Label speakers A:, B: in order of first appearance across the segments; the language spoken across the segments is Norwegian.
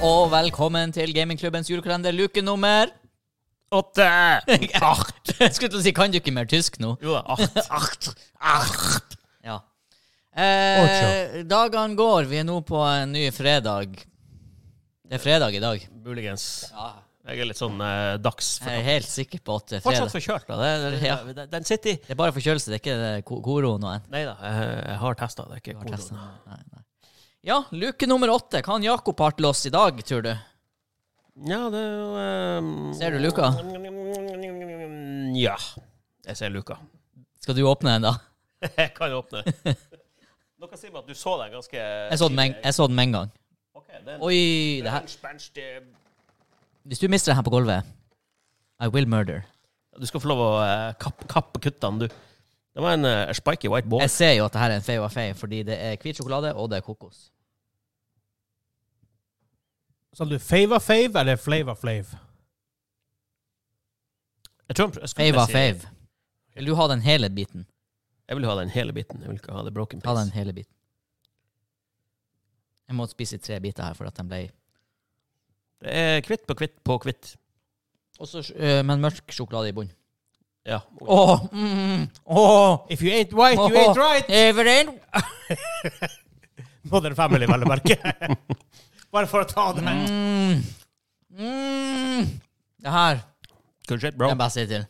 A: velkommen til gamingklubbens julekalender, luke nummer
B: Åtte!
A: Art! Jeg skulle til å si, kan du ikke mer tysk nå?
B: Jo da. Art, art, art.
A: Ja. Eh, dagene går, vi er nå på en ny fredag. Det er fredag i dag.
B: Muligens.
A: Ja.
B: Jeg er litt sånn eh, dags...
A: Jeg er helt sikker på at det er
B: Fortsatt
A: fredag.
B: forkjølt, da. Det, det,
A: Ja.
B: det, den sitter i
A: Det er bare forkjølelse, det er ikke eh, ko- koroen og en.
B: Nei da, jeg, jeg har testa. Det er ikke
A: Har testet.
B: korona.
A: Nei, nei. Ja, luke nummer åtte. Hva har Jakob har til oss i dag, tror du?
B: Ja, det er jo ehm,
A: Ser du luka?
B: Ja. Jeg ser luka.
A: Skal du åpne den, da?
B: Jeg kan åpne. Noen sier meg at du så den ganske
A: Jeg så den med en- jeg så den med en gang.
B: Ok, det er en-
A: Oi,
B: det
A: det
B: er
A: her
B: en spenstig-
A: Hvis du mister den her på gulvet I will murder.
B: Du skal få lov å eh, kapp- kappe kuttene, du. Det var en eh, spiky white ball.
A: Jeg ser jo at det her er en fei og fei, fordi det er hvit sjokolade, og det er kokos.
C: Sa du Fava Fave eller Flava Flav?
B: Jeg, tror han pr- jeg, skulle
A: Fei var
B: si-
A: feiv. Vil du ha den hele biten?
B: jeg vil ha den hele biten. Jeg vil ikke ha det broken
A: Ta den
B: piece.
A: hele biten. Jeg må spise tre biter her for at den ble
B: Det er kvitt på kvitt på kvitt.
A: Også, øh, Men mørk sjokolade i bunnen.
B: Ja.
A: Åh, mm, åh.
C: If you ain't white, you ain't right!
A: If it ain't-
C: Modern Family, vel å merke. Bare for å ta det.
A: Mm, mm. Det her
B: Good shit,
A: kan
B: bro.
A: jeg bare si til.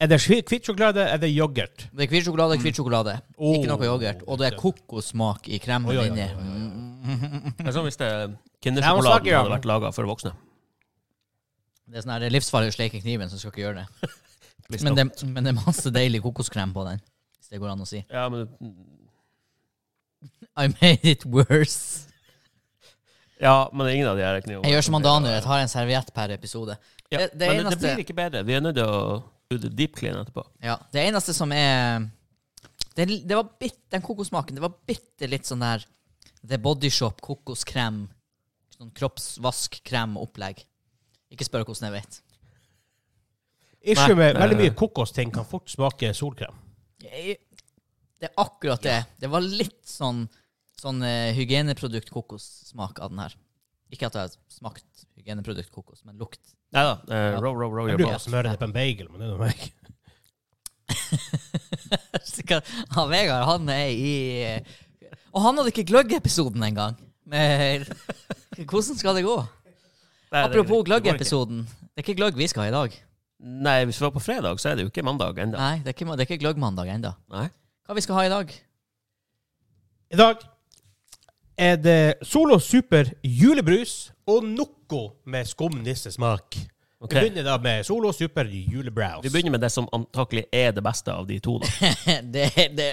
C: Er det sj- hvitt sjokolade, er det yoghurt?
A: Det er hvit sjokolade, hvit sjokolade.
C: Åh.
A: Ikke noe yoghurt. Og det er kokossmak i Mm. kremen
C: Oi, oi, oi,
A: inni.
C: oi, oi, oi.
B: Det er som hvis det
C: Nei,
B: Kindersjokoladen
C: man snakker, ja.
B: hadde vært laga for voksne.
A: Det er sånn her, det er livsfarlig å sleike kniven, så du skal ikke gjøre det.
B: Please
A: Men
B: stop.
A: det, men det er masse deilig kokoskrem på den, hvis det går an å si.
B: Ja, men,
A: I made it worse.
B: ja, men det er ingen av de her knivene.
A: Jeg gjør som han Daniel, jeg tar en serviett per episode.
B: Ja,
A: Det- det
B: men
A: eneste-
B: det blir ikke bedre. Vi er nødt til å do deep clean etterpå.
A: Ja, Det eneste som er det, det var bitt, Den kokosmaken, det var bitte litt sånn der The Body Shop kokoskrem. Sånn kroppsvaskkrem-opplegg. Ikke spør hvordan jeg vet.
C: Ikke med
B: Nei, nei,
C: veldig
B: nei.
C: mye kokosting kan fort smake solkrem.
A: Jeg, det er akkurat det. Det var litt sånn, sånn eh, hygieneprodukt-kokossmak av den her. Ikke at jeg har smakt hygieneprodukt-kokos, men lukt.
B: Nei da. Eh, row, row, row your
C: Jeg bruker
B: boat.
C: å smøre det på en bagel, men det er noe meg.
A: Sikkert- ja, Vegard, han er i eh, Og han hadde ikke gløgg-episoden engang. Men hvordan skal det gå?
B: Nei, det-
A: Apropos
B: det går ikke.
A: gløgg-episoden. Det er ikke gløgg vi skal ha i dag.
B: Nei, hvis vi var på fredag, så er det jo ikke mandag ennå.
A: Nei, det er ikke, det er ikke gløgg-mandag ennå.
B: Nei.
A: Hva vi skal ha i dag?
C: I dag er det Solo Super julebrus og Noco med skumnissesmak.
B: Ok.
C: Vi begynner da med Solo Super julebrows.
B: Vi begynner med det som antakelig er det beste av de to, da.
A: Det, det,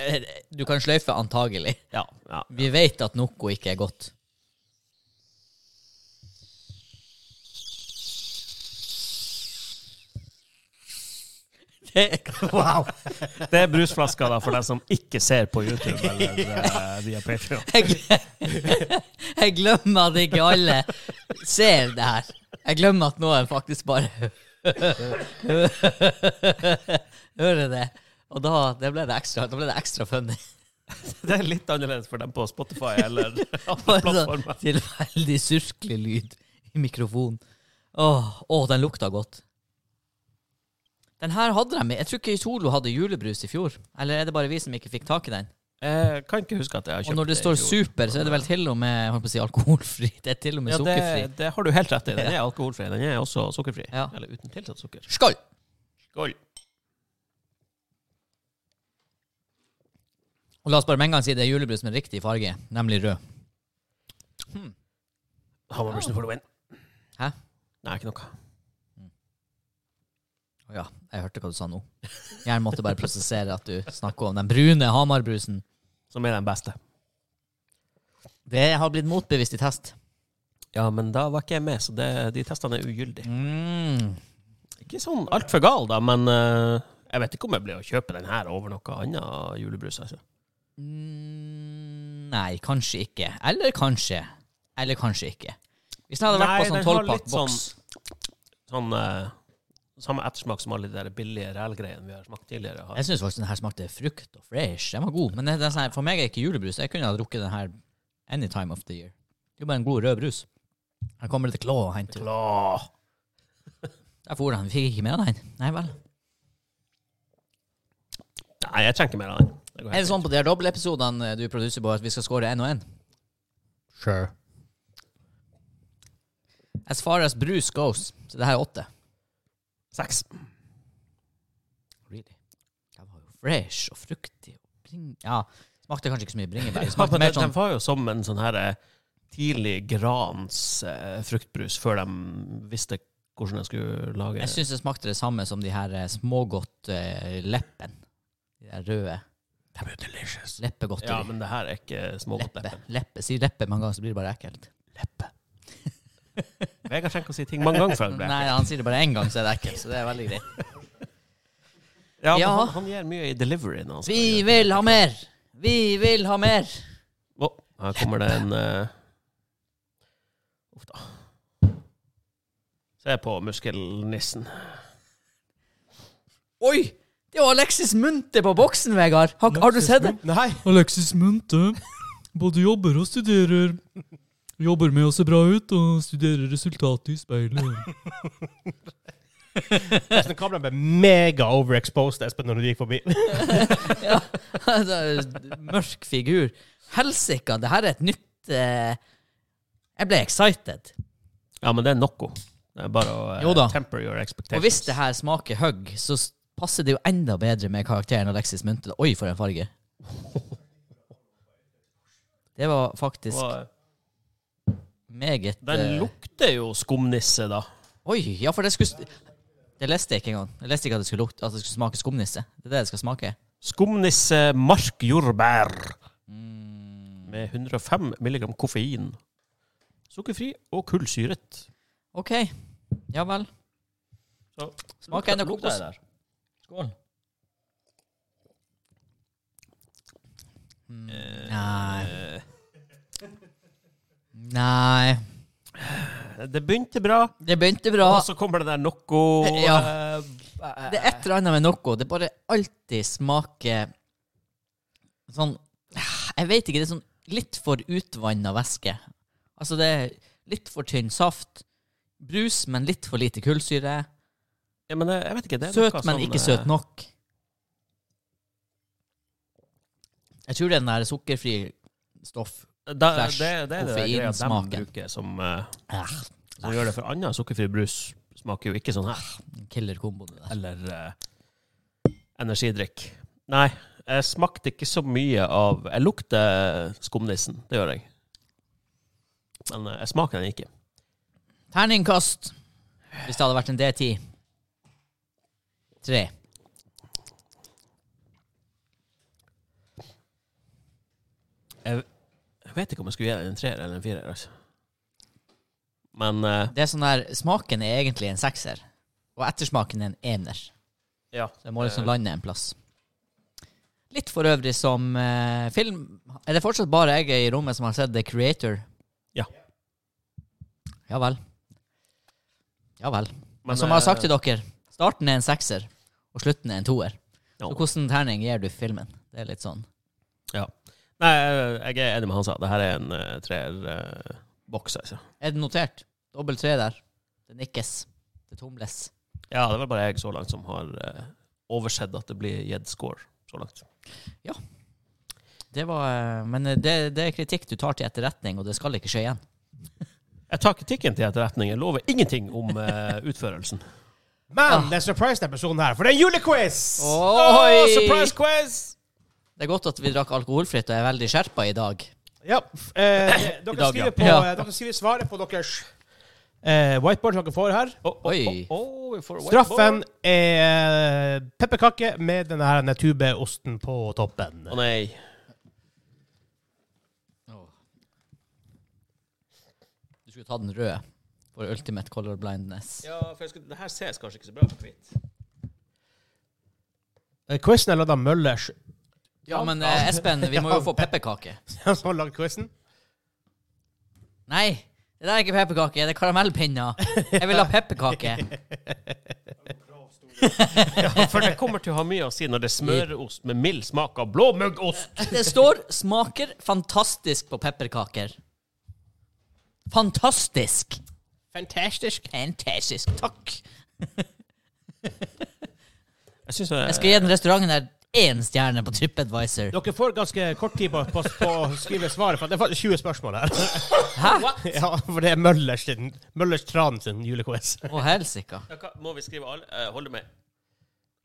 A: du kan sløyfe antagelig.
B: Ja, ja.
A: Vi vet at Noco ikke er godt. Det er
C: Wow!
B: Det er brusflaska da, for deg som ikke ser på YouTube eller eh, via Patreon.
A: Jeg, gle- jeg glemmer at ikke alle ser det her. Jeg glemmer at noen faktisk bare hører det. Og da det ble det ekstra, da ble det ekstra funny.
B: Det er litt annerledes for dem på Spotify eller andre
A: Bare sånn
B: plattformer.
A: Tilfeldig surklig lyd i mikrofonen. Åh, åh, den lukta godt. Den her hadde de Jeg tror ikke Solo hadde julebrus i fjor. Eller er det bare vi som ikke fikk tak i den?
B: Jeg kan ikke huske at jeg har kjøpt
A: Og når det
B: i
A: står
B: fjor.
A: super, så er det vel til og med jeg holdt på å si, alkoholfri. Det er til og med
B: ja, det,
A: sukkerfri.
B: det har du helt rett i. Den er alkoholfri. Den er også sukkerfri.
A: Ja.
B: Eller uten tilsatt sukker.
A: Skål!
B: Skål.
A: Og la oss bare med en gang si det er julebrus med riktig farge, nemlig rød.
B: Hammerbrusen for the win.
A: Hæ?
B: Nei, ikke noe.
A: Å ja, jeg hørte hva du sa nå. Jeg måtte bare prosessere at du snakker om den brune Hamar-brusen.
B: Som er den beste.
A: Det har blitt motbevist i test.
B: Ja, men da var ikke jeg med, så det, de testene er ugyldige.
A: Mm.
B: Ikke sånn altfor gal, da, men eh, jeg vet ikke om jeg blir å kjøpe den her over noe annet julebrus. Altså.
A: Mm, Nei, kanskje ikke. Eller kanskje. Eller kanskje ikke. Hvis den hadde vært
B: Nei,
A: på sånn
B: den har litt
A: tolvpakk boks
B: Sånn eh, samme ettersmak som alle de der billige rælgreiene vi har smakt tidligere. Har.
A: Jeg syns faktisk den her smakte frukt og fresh. Den var god. Men det- den, er sånn her, for meg er det ikke julebrus. Jeg kunne ha drukket den her any time of the year. Det er jo bare en god rød brus. Her kommer det til Klå og henter.
B: Klar.
A: Der for han. Vi fikk ikke med den. Nei vel.
B: Nei, jeg trenger ikke mer av den. Det går
A: Er
B: helt
A: det sånn på de her dobbeltepisodene eh, du produserer på, at vi skal score én og én?
C: Sure.
A: As far as Bruce goes. Så det her er åtte.
B: fint. Seks.
A: Really? Det var jo fresh og fruktig. Og bring... Ja, smakte kanskje ikke så mye bringebær. Det
B: Ja,
A: Smakte
B: men den,
A: mer sånn
B: den var jo som en sånn her eh, tidlig grans eh, fruktbrus, før de visste hvordan jeg skulle lage
A: Jeg syns det smakte det samme som de her eh, smågodt eh, leppen. De der røde
B: De er jo delicious.
A: leppegodteri.
B: Ja, men det her er ikke smågodt.
A: leppe. leppe. Si leppe mange ganger, så blir det bare ekkelt. Leppe.
B: Vegard trenger ikke å si ting mange ganger før det blir
A: Nei, han sier det bare én gang, så er det ekkelt. Så det er veldig greit.
B: Ja, men
A: Ja.
B: Han, han gir mye i altså. deliveryen hans.
A: Vi vil ha mer! Vi vil ha mer!
B: Å, her kommer det en eh, Uff da. Se på muskelnissen.
A: Oi! Det var Alexis Munthe på boksen, Vegard. Har, har du sett det?
C: Nei.
D: Alexis Munthe både jobber og studerer. Jobber med å se bra ut og studerer resultatet i speilet.
C: Resten av kameraet ble mega overexposed, Espen, når du gikk forbi.
A: Ja. Altså, Mørk figur. Helsike, det her er et nytt eh, Jeg ble excited.
B: Ja, men det er noe. Det er bare å eh,
A: Jo da.
B: temper your expectations.
A: Og hvis det her smaker hugg, så s- passer det jo enda bedre med karakteren Alexis Munthe. Oi, for en farge. Det var faktisk
B: Og, eh,
A: meget
B: Den
A: eh,
B: lukter jo skumnisse, da.
A: Oi, ja, for det skulle s- Det leste jeg ikke engang. Jeg leste ikke at det skulle, lukte, at det skulle smake skumnisse. Det er det det skal smake.
B: Skumnisse markjordbær.
A: Mm.
B: Med 105 milligram koffein. Sukkerfri og kullsyret.
A: OK. Ja vel.
B: Så-
A: Smaker enda
B: Lukter
A: kokos.
B: det der?
A: Skål. Nei. Nei.
B: Eh, Det begynte bra,
A: Det begynte bra.
B: og så kommer det der noe
A: Ja.
B: eh,
A: Det er et eller annet med noe. Det bare alltid smaker sånn Jeg vet ikke. Det er sånn litt for utvanna væske. Altså, det er litt for tynn saft. Brus, men litt for lite kullsyre.
B: ja, men eh, jeg vet ikke, det er
A: Søt,
B: noe
A: men
B: sånn,
A: ikke
B: eh,
A: søt nok. Jeg tror det er den der sukkerfri stoff.
B: Da, eh,
A: Slash
B: det, det er det der greia de
A: koffeinsmaken.
B: bruker som, eh,
A: Ah,
B: som gjør det for annen sukkerfri brus. Smaker jo ikke sånn her.
A: Killer kombo, det der.
B: Eller eh, energidrikk. Nei, jeg smakte ikke så mye av Jeg lukter skumnissen, det gjør jeg. Men eh, jeg smaker den ikke.
A: Terningkast, hvis det hadde vært en D10. Tre.
B: Jeg, jeg vet ikke om jeg skulle gi den en treer eller en firer. Altså. Men eh,
A: Det er sånn der, Smaken er egentlig en sekser, og ettersmaken er en ener.
B: ja.
A: Så jeg må liksom lande en plass. Litt for øvrig som eh, film Er det fortsatt bare jeg i rommet som har sett The Creator?
B: Ja.
A: Ja vel. Ja vel. Men,
B: Men,
A: som jeg har
B: eh,
A: sagt til dere, starten er en sekser, og slutten er en toer.
B: Ja.
A: Så hvordan terning gir du filmen? Det er litt sånn.
B: ja. Nei, jeg jeg er enig med han sa. Det her er en uh, treerboks, altså.
A: Er det notert? Dobbel tre der. Det nikkes. Det tomles.
B: Ja, det er vel bare jeg så langt som har eh, oversett at det blir gitt score så langt.
A: Det var, eh, men eh, det, det er kritikk du tar til etterretning, og det skal ikke skje igjen.
B: Jeg tar kritikken til etterretning. Jeg lover ingenting om eh, utførelsen.
C: Men det er surprise den personen her, for det er en julequiz!
A: Oi!
B: Åh, surprise quiz!
A: Det er godt at vi drakk alkoholfritt og er veldig skjerpa i dag.
C: Ja. Eh,
B: I
C: dere,
B: dag, ja.
C: skriver på, eh,
A: Ja.
C: dere skriver svaret på deres eh, whiteboard dere får her.
B: Å, å,
A: Oi.
B: å, å, vi får whiteboard.
C: Straffen er pepperkake med denne her tubeosten på toppen.
B: Å nei.
A: Du skulle ta den røde for ultimate color blindness.
B: Ja, for jeg skulle, det her ses kanskje ikke så bra på hvitt.
C: Eh, Quizen er lagd av Møllers,
A: Ja, men eh, Espen, vi må jo få pepperkake.
C: han som har lagd quizen.
A: Nei, det der er ikke pepperkake, det er karamellpinner. Jeg vil ha pepperkake.
B: For det kommer til å ha mye å si når det er smøreost med mild smak av blåmuggost.
A: Det står 'smaker fantastisk på pepperkaker'. Fantastisk!
C: Fantastisk.
A: Fantastisk. Takk.
B: Jeg syns jeg,
A: Jeg skal gi den restauranten der én stjerne på TripAdvisor.
C: Dere får ganske kort tid på, på, på å skrive svaret, for det er faktisk 20 spørsmål her.
A: Hæ?
C: Ja, for det er Møllers, sin, Møllers Tran sin julequiz.
A: Å, helsike.
B: Ja, hva- Må vi skrive alle? eh, Holder med?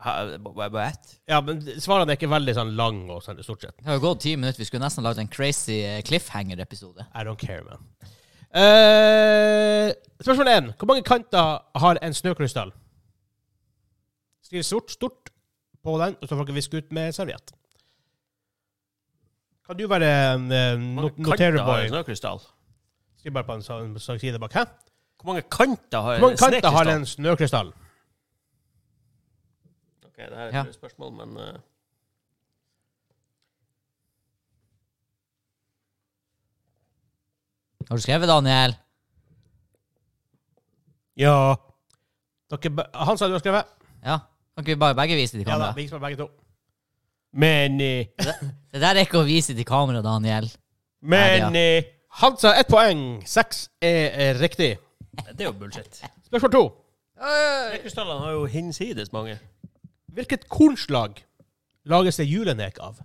B: Ha- b- b- What?
C: Ja, men svarene er ikke veldig sånn lang og sånn, stort sett.
A: Det har jo gått ti minutter. Vi skulle nesten lagd en crazy eh, cliffhanger-episode.
C: I don't care, man. Eh, spørsmål én. Hvor mange kanter har en snøkrystall? Skriv sort, stort på den, og så får dere viske ut med serviett. Kan du være en eh, not
B: Kanter har en
C: notereboy?
B: snøkrystall.
C: Skriv bare på en sånn sånn side bak. Hæ?
B: Hvor mange kanter har
C: Hvor mange
B: en
C: kanter har
B: snekrystall?
C: en snøkrystall?
B: Ok, det her er et
A: Ja.
B: spørsmål, men eh,
A: Har du skrevet, Daniel?
C: Ja. Dere, b- han sa du har skrevet.
A: Ja. Kan ikke vi bare begge vise det til
C: Ja da,
A: kamera?
C: vi spør begge to. Many.
A: Det der er ikke å vise til kamera, Daniel. Many.
C: Han sa ett poeng. Seks er eh, riktig.
B: det er jo bullshit.
C: Spørsmål to.
B: Snøkrystallene har jo hinsides mange.
C: Hvilket kornslag lages det julenek av?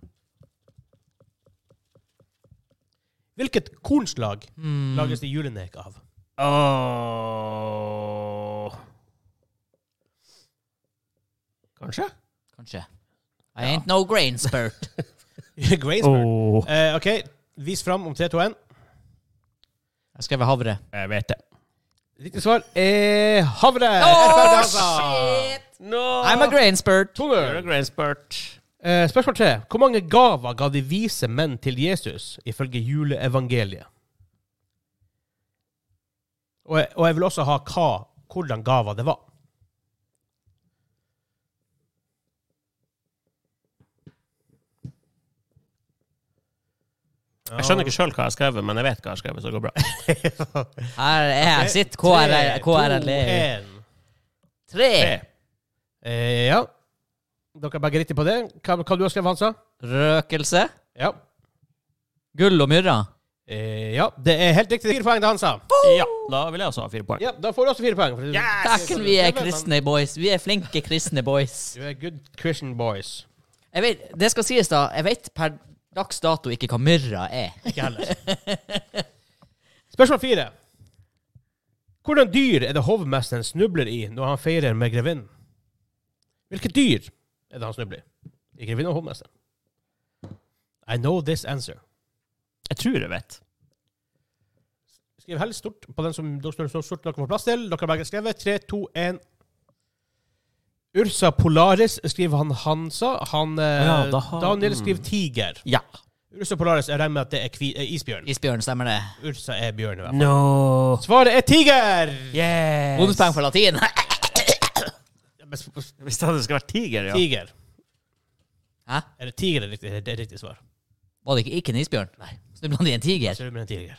C: Hvilket kornslag
B: Hmm.
C: lages det julenek av?
B: Åh. Kanskje?
A: Kanskje. I ain't no grain spurt.
C: Graysburg. Eh, OK, vis fram om 3, 2, 1.
A: Jeg skrev havre.
B: Jeg vet det.
C: Riktig svar er havre. altså.
A: Oh,
C: Erferd Hansa.
A: shit!
B: No!
A: I'm a grain spurt.
C: 2-0.
B: You're a grand spurt.
C: Eh, spørsmål tre. Hvor mange gaver ga de vise menn til Jesus ifølge juleevangeliet? Og jeg, og jeg vil også ha hva, hvordan gaver det var.
B: Jeg skjønner ikke sjøl hva jeg har skrevet, men jeg vet hva jeg har skrevet, så det går bra.
A: Her er jeg. Sitt KRL- KRLE. E. Tre.
C: Eh, ja. Dere er begge riktig på det. Hva, hva du har skrevet, Hansa?
A: Røkelse.
C: Ja.
A: Gull og myrra.
C: Eh, ja. Det er helt riktig. Fire poeng til Hansa.
B: Ja, da vil jeg også ha fire poeng.
C: Ja, da får du også fire poeng. for-
A: Dæken, vi er kristne boys. Vi er flinke kristne boys.
C: Du er good Christian boys.
A: Jeg vet, det skal sies, da. Jeg vet per dags dato ikke hva myrra er.
C: Ikke heller. Spørsmål fire. Hvordan dyr er det hovmesteren snubler i når han feirer med grevinnen? Hvilke dyr er det han snubler i? I grevinnen og hovmesteren. I know this answer.
B: Jeg tror jeg vet.
C: Skriv helst stort på den som dere står stort dere får plass til. Dere har begge skrevet. 3, 2, 1. Ursa Polaris skriver han Hansa. Han, eh,
B: Ja, da har- mm.
C: Daniel skriver tiger.
B: Ja.
C: Ursa Polaris, jeg regner med at det er kvi, eh, isbjørn.
A: Isbjørn, stemmer det?
C: Ursa er bjørn. i hvert fall.
B: No.
C: Svaret er tiger!
B: Yes.
A: Bonuspoeng for latin.
B: Hvis det hadde skal vært tiger, ja.
C: Tiger.
A: Hæ?
C: Er det tiger er riktig, det er riktig svar?
A: Var det ikke, ikke en isbjørn? Nei. Snubla i en tiger?
C: Ser du med en tiger?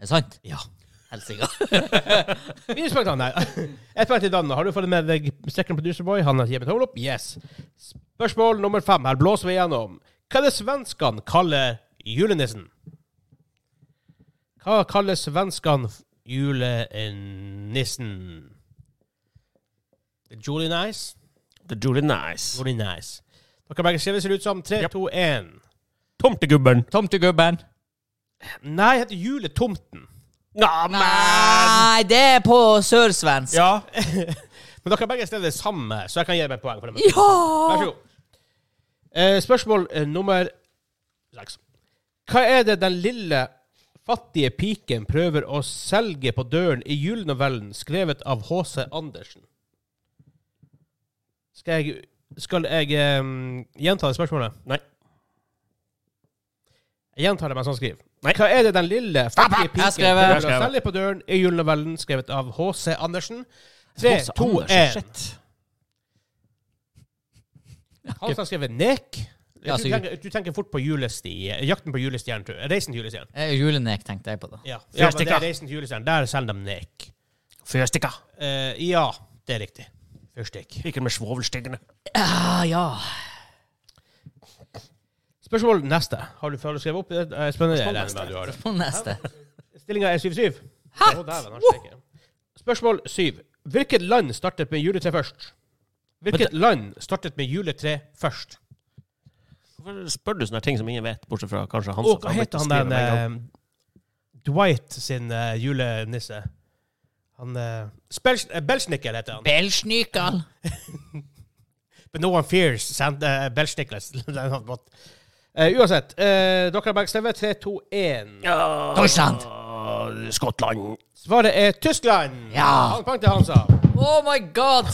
A: Er det sant?
C: Ja.
A: Helsike.
C: Minuspoeng til han, nei. Ett poeng til Dan. Har du fått med deg second producer boy? Han gir meg tommel opp. Yes. Spørsmål nummer fem. Her blåser vi igjennom. Hva er det svenskene kaller julenissen? Hva kaller svenskene f- julenissen? Julie Nice?
B: The Julie Nice.
C: Julie Nice. Dere begge skrevet ser det ut som 3,
B: Japp.
C: 2, 1.
B: Tomtegubben.
A: Tomtegubben.
C: Nei, det heter Juletomten.
A: Nei, det er på sørsvensk.
B: Ja.
C: Men dere har begge skrevet det samme, så jeg kan gi meg poeng for det. Vær
A: Ja!
C: så god. Eh, spørsmål eh, nummer seks. Hva er det den lille, fattige piken prøver å selge på døren i julenovellen skrevet av H.C. Andersen? Skal jeg, skal jeg eh, gjenta det spørsmålet?
B: Nei.
C: Jeg gjentar det mens han skriver. Hva er det den lille, fattige
A: Jeg
C: piken
A: skrev det.
C: prøver
B: Jeg
C: å
B: skrev det.
C: selge på døren i julenovellen skrevet av H.C. Andersen? Tre, to, én. Han som har skrevet Nek.
A: Ja,
C: du,
A: sikkert.
C: tenker, du tenker fort på julesti, Jakten på julestjernen, tror jeg. Reisen til julestjernen.
A: Eh, Julenek tenkte jeg på, da.
C: Ja,
B: Ja,
C: men det
B: stikker.
C: er Reisen til julestjernen. Der selger de Nek.
B: Fyrstikka.
C: Eh, ja, det er riktig. Fyrstikk.
B: Ikke med svovelstikkene.
A: Ah, ja.
C: Spørsmål neste. Har du, har du skrevet opp? Det er spennende. Jeg regner med at du har det.
A: På neste.
C: Stillinga er 7-7.
A: Hæ?
C: Å, dæven, han steker. Spørsmål 7. Hvilket land startet med juletre først? Hvilket land startet med juletre først?
B: Hvorfor spør du sånne ting som ingen vet, bortsett fra kanskje Hansa?
C: Og hva heter han den eh, Dwight sin eh, julenisse? Han uh, Belsnicker heter han.
A: Belsnikal.
C: But no one fears Sand, uh, Belsnickles. uansett, eh, dere har begge stemmer. 3, 2, 1.
A: Deutschland.
B: eh, Deutschland! Skottland.
C: Svaret er Tyskland!
A: Ja.
C: Han poeng til Hansa.
A: Oh my god!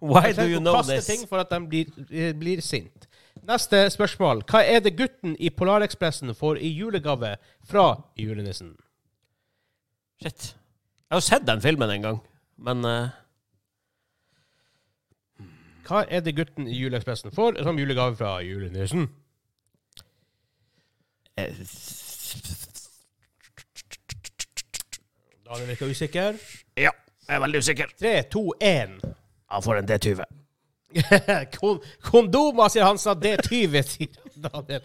B: Why
C: Jeg
B: do
C: tenker
B: you
C: å
B: know
C: kaste
B: this?
C: ting for at de blir, eh, blir sint. Neste spørsmål. Hva er det gutten i Polarekspressen får i julegave fra julenissen?
B: Shit. Jeg har jo sett den filmen en gang, men eh,
C: Hva er det gutten i Juleekspressen får som julegave fra julenissen?
B: eh,
C: Daniel virker usikker.
B: Ja, jeg er veldig usikker.
C: 3, 2, 1.
B: Han får en D20.
C: Kon kondomer, sier Hansa. D20, sier Daniel.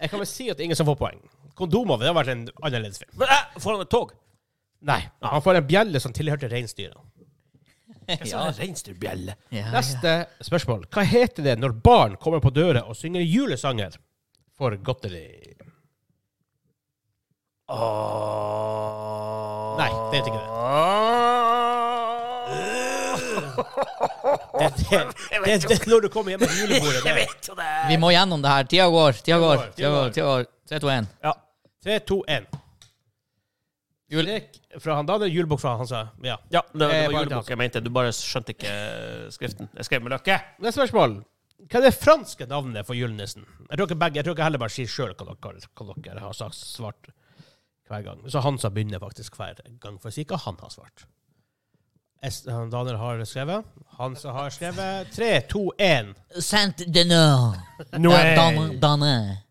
C: Jeg kan vel si at det er ingen som får poeng. Kondomer det har vært en annerledes film.
B: Men, eh, Får han et tog?
C: Nei. Han får en bjelle som tilhørte reinsdyra.
B: Ja, reinsdyrbjelle.
A: Ja, ja.
C: Neste spørsmål. Hva heter det når barn kommer på døra og synger julesanger for godteri? Nei, det heter ikke
B: Eh,
C: det. Det, det, det, det er når du kommer hjem med julebordet. Det.
A: Vi må gjennom det her. Tida går, tida går.
C: går,
A: Tida går, tida går. 3, 2, 1.
C: Ja. 3, 2, 1. Lek fra han Daniel, julebok fra han sa. Ja.
B: Ja, det, det
C: Eh,
B: var
C: bare
B: julebok jeg mente. Du bare skjønte ikke eh, skriften. Jeg skrev med løkke.
C: Neste spørsmål. Hva er det franske navnet for julenissen? Jeg tror ikke begge, jeg tror ikke heller bare sier sjøl hva, dere- hva dere har sagt, svart hver gang. Så Hansa begynner faktisk hver gang for å si hva han har svart. S, han Daniel har skrevet. Hansa har skrevet. 3, 2, 1.
A: Saint Denis. Dan- Danne.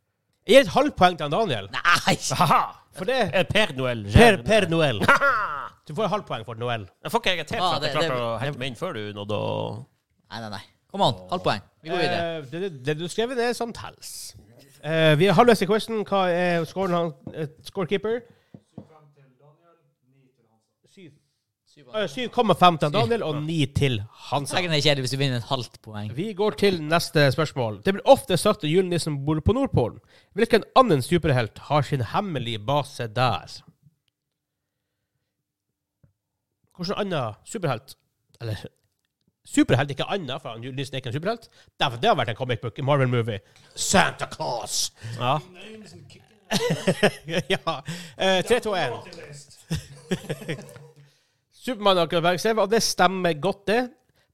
C: Jeg gir et halvt poeng til han Daniel.
A: Nei!
B: Haha!
C: For det
B: Eh, Per Noel.
C: Per,
B: Gerard.
C: per Noel. Du får et halvt poeng for Noel.
B: Jeg får ikke irritert for
A: Ah,
B: at jeg
A: det-
B: klarte
A: det-
B: å hente meg inn før du nådde å
A: Nei, nei, nei. Kom on, halvt poeng. Vi går videre.
C: Eh, det, det, det du skrev, det er som tels. Eh, vi er halvveis i quizen. Hva er scoren han, eh, scorekeeper? 7 Eh, 7,5 til Daniel og 9 til Hansa.
A: Sikkert er kjedelig hvis du vinner et halvt poeng.
C: Vi går til neste spørsmål. Det blir ofte sagt at julenissen bor på Nordpolen. Hvilken annen superhelt har sin hemmelige base der? Hvilken annen superhelt Eller Superhelt er ikke annet, for julenissen er ikke en superhelt. Derfor det har vært en comic book, en Marvel-movie. Santa Claus!
B: Ja.
C: ja. Eh, 3, 2, 1. Supermann har ikke vært skrevet, og det stemmer godt, det.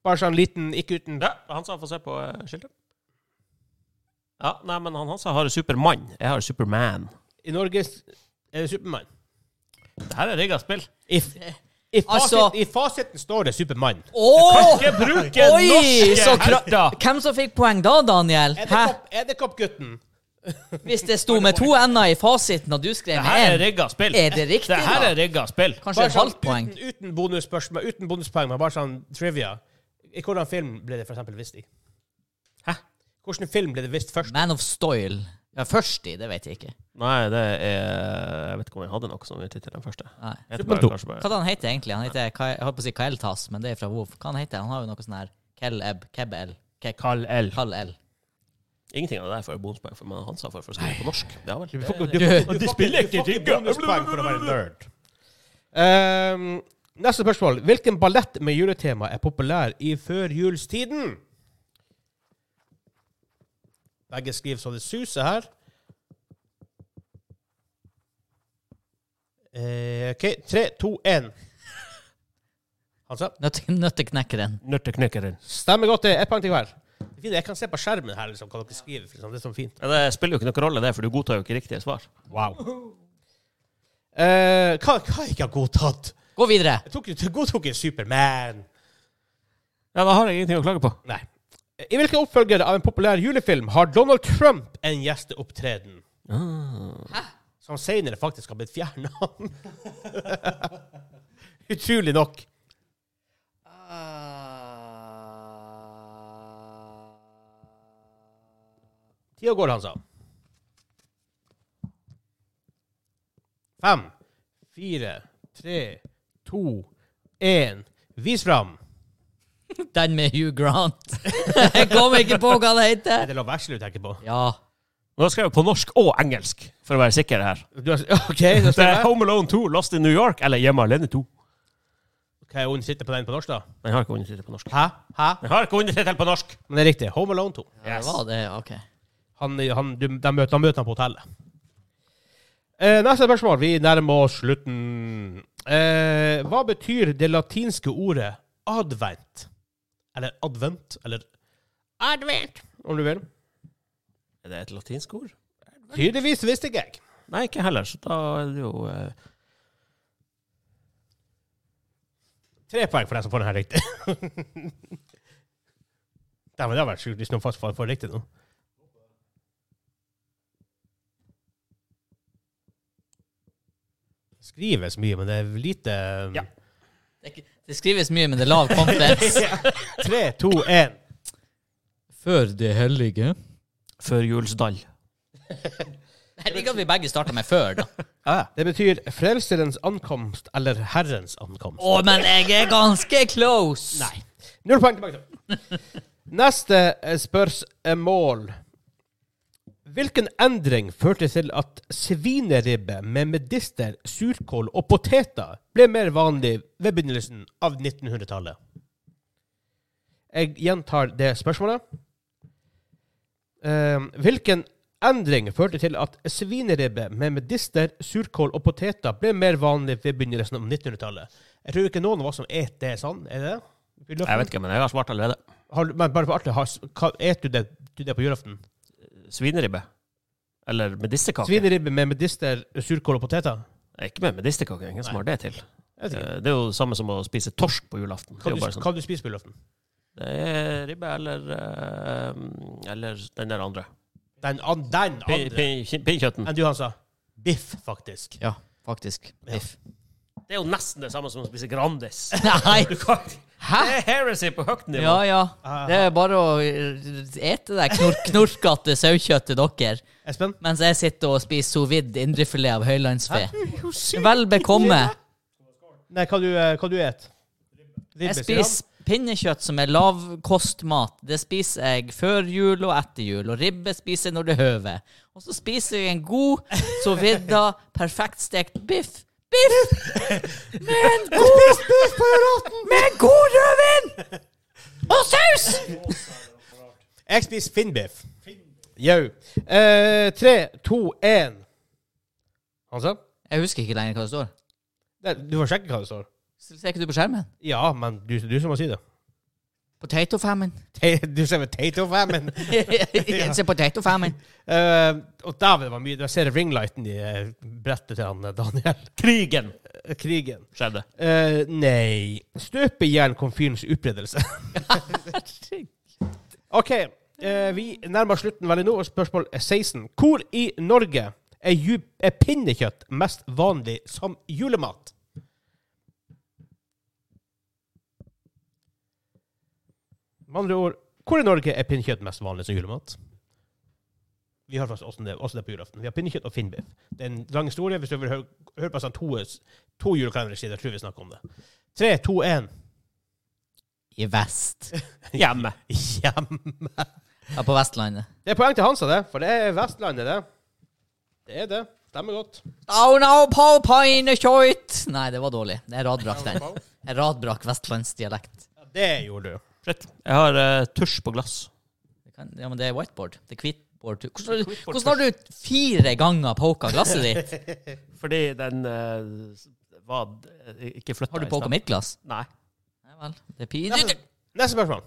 C: Bare sånn liten, ikke uten
B: ja han sa få se på eh, skiltet. Ja, nei, men han, han sa har Supermann. Jeg har Superman.
C: I Norge s- er det Supermann.
B: Det her er rigga spill.
C: I, f- i, fasit,
A: Altså-
C: I fasiten står det Supermann.
A: Åh!
B: Ikke bruke
A: Oi!
B: norske
A: Så kra
B: helter!
A: Hvem som fikk poeng da, Daniel? Hæ?
C: Edderkopp- Edderkoppgutten.
A: Hvis det sto med to n-er i fasiten, og du skrev
B: Det
A: med
B: her er
A: én,
B: rigga spill.
A: er det riktig,
B: Det her
A: da?
B: er rigga spill.
A: Kanskje
C: Bare
A: et
C: sånn
A: halvt poeng.
C: Uten, uten bonusspørsmål, uten bonuspoeng, men bare sånn trivia. I hvordan film ble det for eksempel visst i? Hæ? Hvordan film ble det visst først?
A: Man of Stoyle. Ja, først i, det vet jeg ikke.
B: Nei, det er Jeg vet ikke om jeg hadde noe som tittel den første.
A: Nei.
B: Jeg heter
C: Superman
B: bare
C: to.
B: kanskje
A: Hva
B: bare-
A: da han heter egentlig? Han heter, Ka- jeg holdt på å si Kaeltas, men det er fra WoW. Hva han heter han? har jo noe sånn her Kell-Eb, Keb-El,
B: Kall L.
A: Kall-El.
B: Ingenting av det der får jeg bonuspoeng for, men han sa for å skrive på norsk. Ja vel.
C: Du får ikke-
A: Du-
C: du får
B: de
C: ikke-
B: spiller ikke
C: du får
B: digga.
C: bonuspoeng for å være nerd. Ehm, neste spørsmål. Hvilken ballett med juletema er populær i førjulstiden? Begge skriver så det suser her. Eh, OK. Tre, to, én. Hansa?
A: Nøtte- Nøtteknekkeren.
B: Nørteknekkeren.
C: Stemmer godt. Det er ett poeng til hver. Det fine, Jeg kan se på skjermen her liksom, hva dere skriver. Liksom. Det er sånn fint.
B: Ja, det spiller jo ikke noen rolle, det, for du godtar jo ikke riktige svar.
C: Wow. Eh, hva, hva jeg ikke har godtatt?
A: Gå videre.
C: Jeg tok, jeg godtok en Superman.
B: Ja, da har jeg ingenting å klage på.
C: Nei. I hvilken oppfølger av en populær julefilm har Donald Trump en gjesteopptreden? Som senere faktisk har blitt fjerna. Utrolig nok. Tida går, han sa. Fem, fire, tre, to, én. Vis fram!
A: Den med Hugh Grant. Jeg kommer ikke på hva det
C: Er
A: heter.
C: det Love Actually du tenker på?
A: Ja.
B: Nå har jeg skrevet på norsk og engelsk, for å være sikker her.
C: Du har, OK, da
B: Det er
C: stemmer jeg.
B: Home Alone 2, Lost in New York, eller Hjemme alene 2.
C: Kan jeg undersitte på den på norsk, da?
B: Den har ikke undertittel på norsk.
C: Hæ? Hæ?
B: Den har ikke undertittel på norsk!
C: Men det er riktig. Home Alone 2.
A: ja det var det. OK.
C: Han, han, du, de møter, han møter han på hotellet. Eh, neste spørsmål. Vi nærmer oss slutten. Eh, hva betyr det latinske ordet advent? Eller advent? Eller advent, om du vil.
B: Er det et latinsk ord?
C: Tydeligvis visste ikke jeg.
B: Nei, ikke heller, så da er det jo eh,
C: Tre poeng for deg som får den her riktig. Dæven, det hadde vært sjukt hvis noen faktisk får får riktig nå. Skrives mye, men det er lite
B: Ja.
A: Det, er ikke- det skrives mye, men det er lav confidence.
C: Tre, to, én.
D: Før det hellige.
B: førjulsdall.
A: Jeg liker at vi begge starta med før, da.
C: Det betyr frelserens ankomst eller herrens ankomst.
A: Å, men jeg er ganske close. Nei.
C: Null poeng tilbake. til. Neste eh, spørsmål. Hvilken endring førte til at svineribbe med medister, surkål og poteter ble mer vanlig ved begynnelsen av 1900-tallet? Jeg gjentar det spørsmålet. Eh, hvilken endring førte til at svineribbe med medister, surkål og poteter ble mer vanlig ved begynnelsen av 1900-tallet? Jeg tror ikke noen av oss som et det, sånn. Er det det? Vi løfter-
B: Jeg vet ikke, men jeg har svart allerede.
C: har, du- men bare for artig, har, hva, et du det, du det på julaften?
B: Svineribbe. Eller medisterkake.
C: Svineribbe med medister, surkål og poteter?
B: Eh, Ikke med medisterkake, det er ingen som
C: Nei.
B: har det til.
C: Jeg vet ikke.
B: Eh, Det er jo det samme som å spise torsk på julaften. Det
C: Hva
B: er jo
C: du,
B: bare sånn.
C: hva du spiser på julaften?
B: Det er ribbe eller eh, Eller den der andre.
C: Den, an- den
B: Pin-
C: andre
B: pin- Pinnkjøtten.
C: enn du, han sa. Biff, faktisk.
A: Ja, faktisk. Biff.
B: Det er jo nesten det samme som å spise Grandis.
A: Nei.
B: Du kan ikke- Det er heresy på høyt nivå.
A: Ja, ja. Det er bare å ete det knor knorkete saukjøttet dere,
C: Espen?
A: mens jeg sitter og spiser sous vide indrefilet av høylandsfe. Vel bekomme.
C: Nei, hva du, eh, hva du et? Ribbe,
A: Jeg
C: sier han.
A: spiser pinnekjøtt som er lavkostmat. Det spiser jeg før jul og etter jul, og ribbe spiser jeg når det høver. Og så spiser jeg en god, sous vide, perfekt stekt biff. Biff! Med en god Med en god rødvin! Og saus!
C: Jeg spiser finnbiff. Jau. Eh, tre, to, én. Han sa?
A: Jeg husker ikke lenger hva det står.
C: Nei, Du får sjekke hva det står.
A: Ser ikke du på skjermen?
C: Ja, men du, du som må si det.
A: Potato famine.
C: Te- Du ser med Tato Famine.
A: It's a potato famine.
C: Eh, og dæven, det var mye. Jeg ser ringlighten i eh, brettet til han eh, Daniel.
B: Krigen
C: Krigen.
B: skjedde.
C: Eh, nei Støpejern kom fyrens utbredelse. OK. eh, vi nærmer oss slutten veldig nå, og spørsmål 16. Hvor i Norge er, ju er pinnekjøtt mest vanlig som julemat? Med andre ord, hvor i Norge er pinnekjøtt mest vanlig som julemat? Vi har faktisk også det, også det på julaften. Vi har pinnekjøtt og finnbiff. Det er en lang historie. Hvis du vil høre, høre på sånn to, to julekalendersider, tror jeg vi snakker om det. Tre, to, én.
A: I vest.
B: Hjemme.
C: Hjemme.
A: Ja, på Vestlandet.
C: Det er poeng til Hansa, det. For det er Vestlandet, det. Det er det. Stemmer godt.
A: Oh no, på pinnekjøtt! Nei, det var dårlig. Jeg radbrakk den. Jeg radbrakk vestlandsdialekt.
C: Ja, det gjorde du.
B: Shit. Jeg har eh, tusj på glass.
A: Det kan- Ja, men det er whiteboard. Det er hvitboard. Hvordan, har du- hvordan har du fire ganger poka glasset ditt?
B: Fordi den eh, var ikke flytta.
A: Har du poka mitt glass?
B: Nei.
A: Nei vel. Det er pinlig.
C: Neste spørsmål.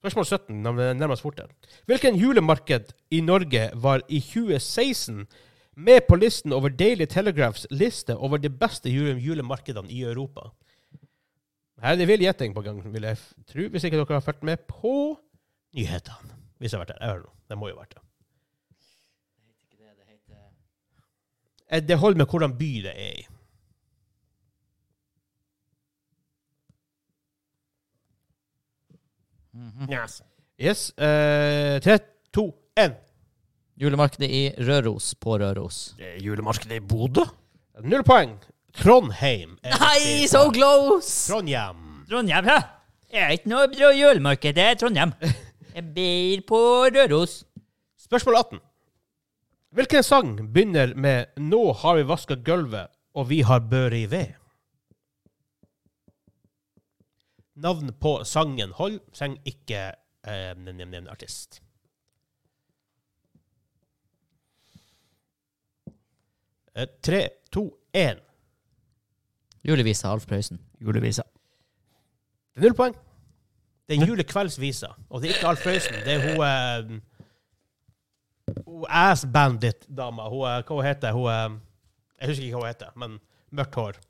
C: Spørsmål 17. når vi nærmer oss fortere. Hvilken julemarked i Norge var i 2016 med på listen over Daily Telegraphs liste over de beste jule julemarkedene i Europa? Her er det vill gjetting på gang, vil jeg f- tro, hvis ikke dere har fulgt med på nyhetene. Hvis jeg har vært der. Jeg hører noe. Det må jo ha vært det. Eh, Det holder med hvordan by det er i.
B: Yes.
C: Yes. Eh, tre, to, én.
A: Julemarkedet i Røros på Røros.
C: Eh,
B: Det er julemarkedet i Bodø?
C: Null poeng. Trondheim. er
A: Nei,
C: riktig
A: so
C: svar.
A: close!
C: Trondheim.
A: Trondheim, hæ? Det er ikke noe bra julemarked, det er Trondheim. Jeg ber på Røros.
C: Spørsmål 18. Hvilken sang begynner med 'Nå har vi vaska gulvet, og vi har børi ved'? Navn på sangen hold, trenger ikke eh, nevne nevne artist. Eh, Tre, to, én.
A: Julevisa Alf Prøysen.
B: Julevisa.
C: Det er null poeng. Det er julekveldsvisa, og det er ikke Alf Prøysen. Det er hun eh, Hun Ass Bandit-dama. Hun, eh, Hva hun heter hun? eh, Jeg husker ikke hva hun heter, men mørkt hår.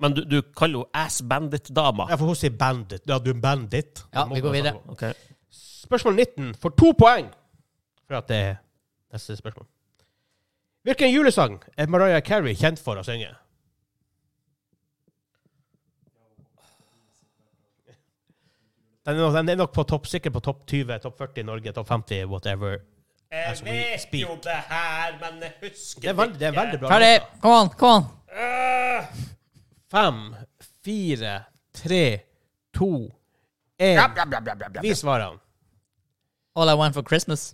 B: Men du, du kaller henne Ass Bandit-dama.
C: Ja, for hun sier bandit. Ja, du er en bandit.
A: Ja,
C: Det må
A: vi går
C: man
A: videre.
C: snakke om.
B: Ok.
C: Spørsmål 19 får to poeng for at det er neste spørsmål. Hvilken julesang er Mariah Carey kjent for å synge? Den er nok, den er nok på topp, sikkert på topp 20, topp 40 i Norge, topp 50, whatever.
B: Jeg
C: As we vet speak. jo
B: det her, men jeg husker
C: Det er veldig, det er veldig bra.
A: Ferdig!
C: låta.
A: Kom an, kom an!
C: Fem, fire, tre, to, én. Vi svarer.
A: All I want for Christmas.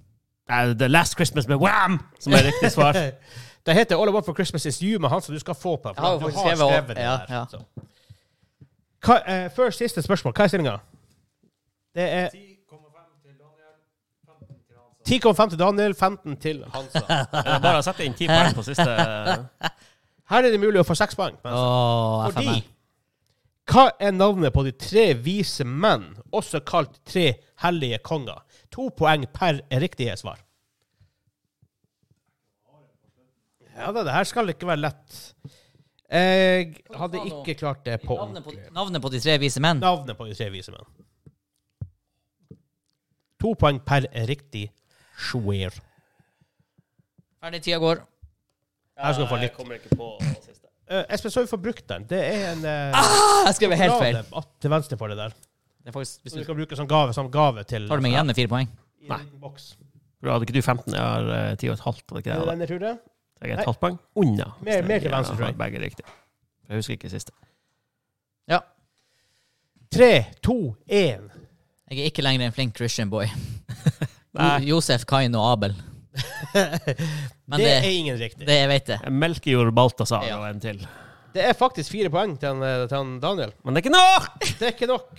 B: The Last Christmas med Wham! Som er riktig svar.
C: Det heter All I Want for Christmas Is You med han som du skal få på. for
A: Jeg har jo
C: du
A: faktisk skrevet
C: skrevet
A: også.
C: det
A: Ja,
C: der,
A: ja.
C: så. Hva, eh, før siste spørsmål, hva er stillinga? Det er 10,5 til Daniel, 15 til Hansa.
B: Jeg bare setter inn ti poeng på siste
C: Her er det mulig å få seks poeng. men-
A: Åh,
C: Fordi
A: FML.
C: Hva er navnet på de tre vise menn, også kalt tre hellige konger? To poeng per riktige svar. Ja da, det her skal ikke være lett. Jeg hadde ikke klart det på
A: Navnet på,
C: ordentlig.
A: navnet på de tre vise menn?
C: navnet på de tre vise menn. To poeng per riktig swear.
A: Ferdig, tida går.
C: Her skal du få litt.
B: kommer ikke på siste.
C: Eh, Espen, så vi får brukt den. Det er en eh,
A: Ah, jeg skrev helt feil.
C: grave at- Til venstre for det der.
A: Det er faktisk, hvis
C: Som
A: du
C: du skal bruke som gave, som gave til
A: tar du meg igjen med fire poeng.
C: i en boks.
B: Hadde ikke du 15? Jeg har eh, 10 og et halvt. Var det ikke det?
C: Er det
B: eller?
C: denne, tror du?
B: Så Jeg er et halvt poeng unna. hvis
C: Mer- mer til
B: jeg
C: venstre, tror jeg.
B: har Begge riktig. Jeg husker ikke siste.
A: Ja.
C: Tre, to, én.
A: Jeg er ikke lenger en flink Christian boy.
B: Nei.
A: Jo- Josef, Kain og Abel. Men
C: det,
A: det-
C: er ingen riktig. Det,
A: Det jeg vet jeg.
B: Jeg Melkejord Balthazar
A: Ja.
B: og en til.
C: er faktisk fire poeng til, han, eh, til han Daniel.
B: Men det er ikke nok!
C: Det er ikke nok.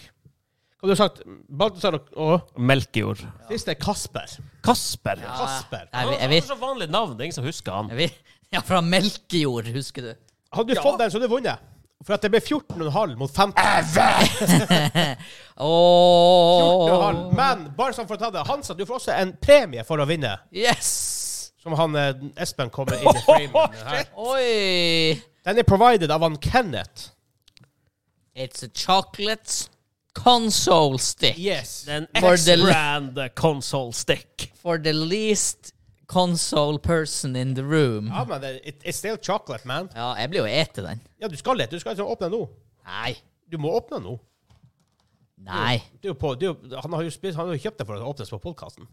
C: Hva du har sagt? Balthazar og, og
B: Melkejord.
C: siste er Kasper.
B: Kasper. Ja.
C: Kasper.
A: Jeg,
B: Han
A: vet- jeg,
B: har
A: vet-
B: så vanlig navn, det er ingen som husker han.
A: jeg, vet- ja, fra melkejord, husker du.
C: Hadde du fått den, så hadde du vunnet. For at det ble 14,5 mot 15.
A: Ååå.
C: 14,5. Men bare sånn for å ta det, Hansa, du får også en premie for å vinne.
A: Yes!
C: Som han eh, Espen kommer inn i framen med her.
A: Oi!
C: Den er provided av han Kenneth.
A: It's a chocolate console stick.
C: Yes.
B: Det er en
A: For the-
B: X-brand console stick.
A: For the least console person in the room.
C: Ja, men det, it, it's still chocolate, man.
A: Ja, jeg blir jo ete den.
C: Ja, du skal litt. Du skal ikke åpne den nå.
A: Nei.
C: Du må åpne den nå.
A: Nei.
C: Det er jo på, det er jo, han, har jo spist, han har jo kjøpt det for å åpnes på podkasten.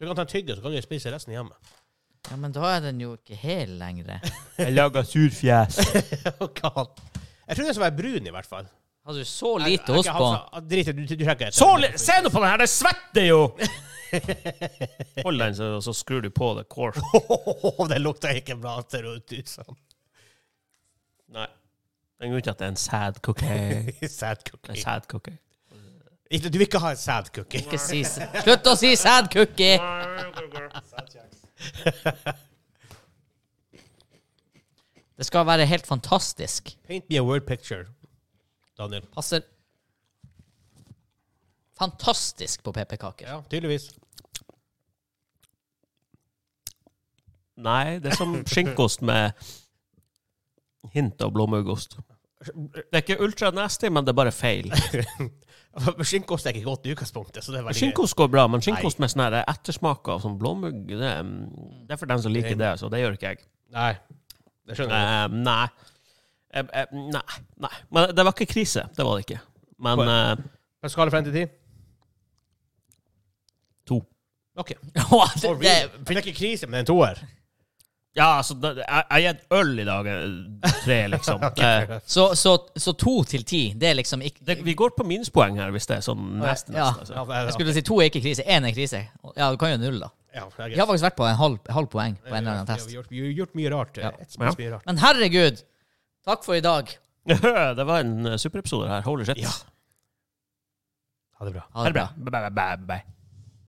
C: Du kan ta en tygge, så kan du spise resten hjemme.
A: Ja, men da er den jo ikke hel lenger.
B: Jeg lager surfjes.
C: Oh, God. jeg trodde den skulle være brun, i hvert fall.
A: Hadde du så lite ost på?
C: på. Drit i det, du, du trenger ikke
B: Så, li- se nå på den her, det svetter jo! Hold den, så, så skrur du på det core.
C: det lukta ikke bra, ser det ut som.
B: Nei. Den går ikke at det er en sad cookie.
C: Sad
B: En
C: cookie.
B: sad cookie.
C: Ikke, du vil ikke ha en sad cookie.
A: Ikke si s- Slutt å si sad cookie! Det skal være helt fantastisk.
C: Paint me a word picture, Daniel.
A: Passer fantastisk på pepperkaker.
C: Ja, tydeligvis.
B: Nei, det er som skinkost med hint av blåmuggost. Det er ikke ultra nasty, men det er bare feil.
C: Skinkost er ikke godt i utgangspunktet, så det er veldig
B: Skinkost går bra, men skinkost med sånn her ettersmak av sånn blåmugg det, er- det er for dem som liker det, så det gjør ikke jeg.
C: Nei. Det skjønner jeg.
B: Eh, nei. Eh, eh, nei. Nei. Men det var ikke krise. Det var det ikke. Men eh,
C: Men Skala frem til ti?
B: To.
C: OK.
A: Åh, det,
C: For
A: det,
C: real. Det er ikke krise, men det er en toer.
B: Ja, altså, da- jeg jeg har gitt øl i dag eh, tre, liksom. Eh,
A: Så, så, så to til ti, det er liksom ikke
B: det, vi går på minuspoeng her, hvis det er sånn nesten.
A: Ja.
B: nesten
C: Ja,
B: altså.
C: det er-
A: Jeg skulle si to er ikke krise, én er krise. Ja, du kan jo null, da.
C: Ja, det er greit.
A: Vi har faktisk vært på en halv, halv poeng på en eller annen
C: Vi har
A: test.
C: gjort, vi har gjort mye rart. eh, et
B: Ja.
C: spes mye rart.
A: Men herregud, takk for i dag.
B: det var en eh, superepisode her. Holy shit.
C: Ja. Ha det bra.
A: Ha
B: Ha
A: det
B: det
A: bra.
B: bra. Bye, bye, bye, bye.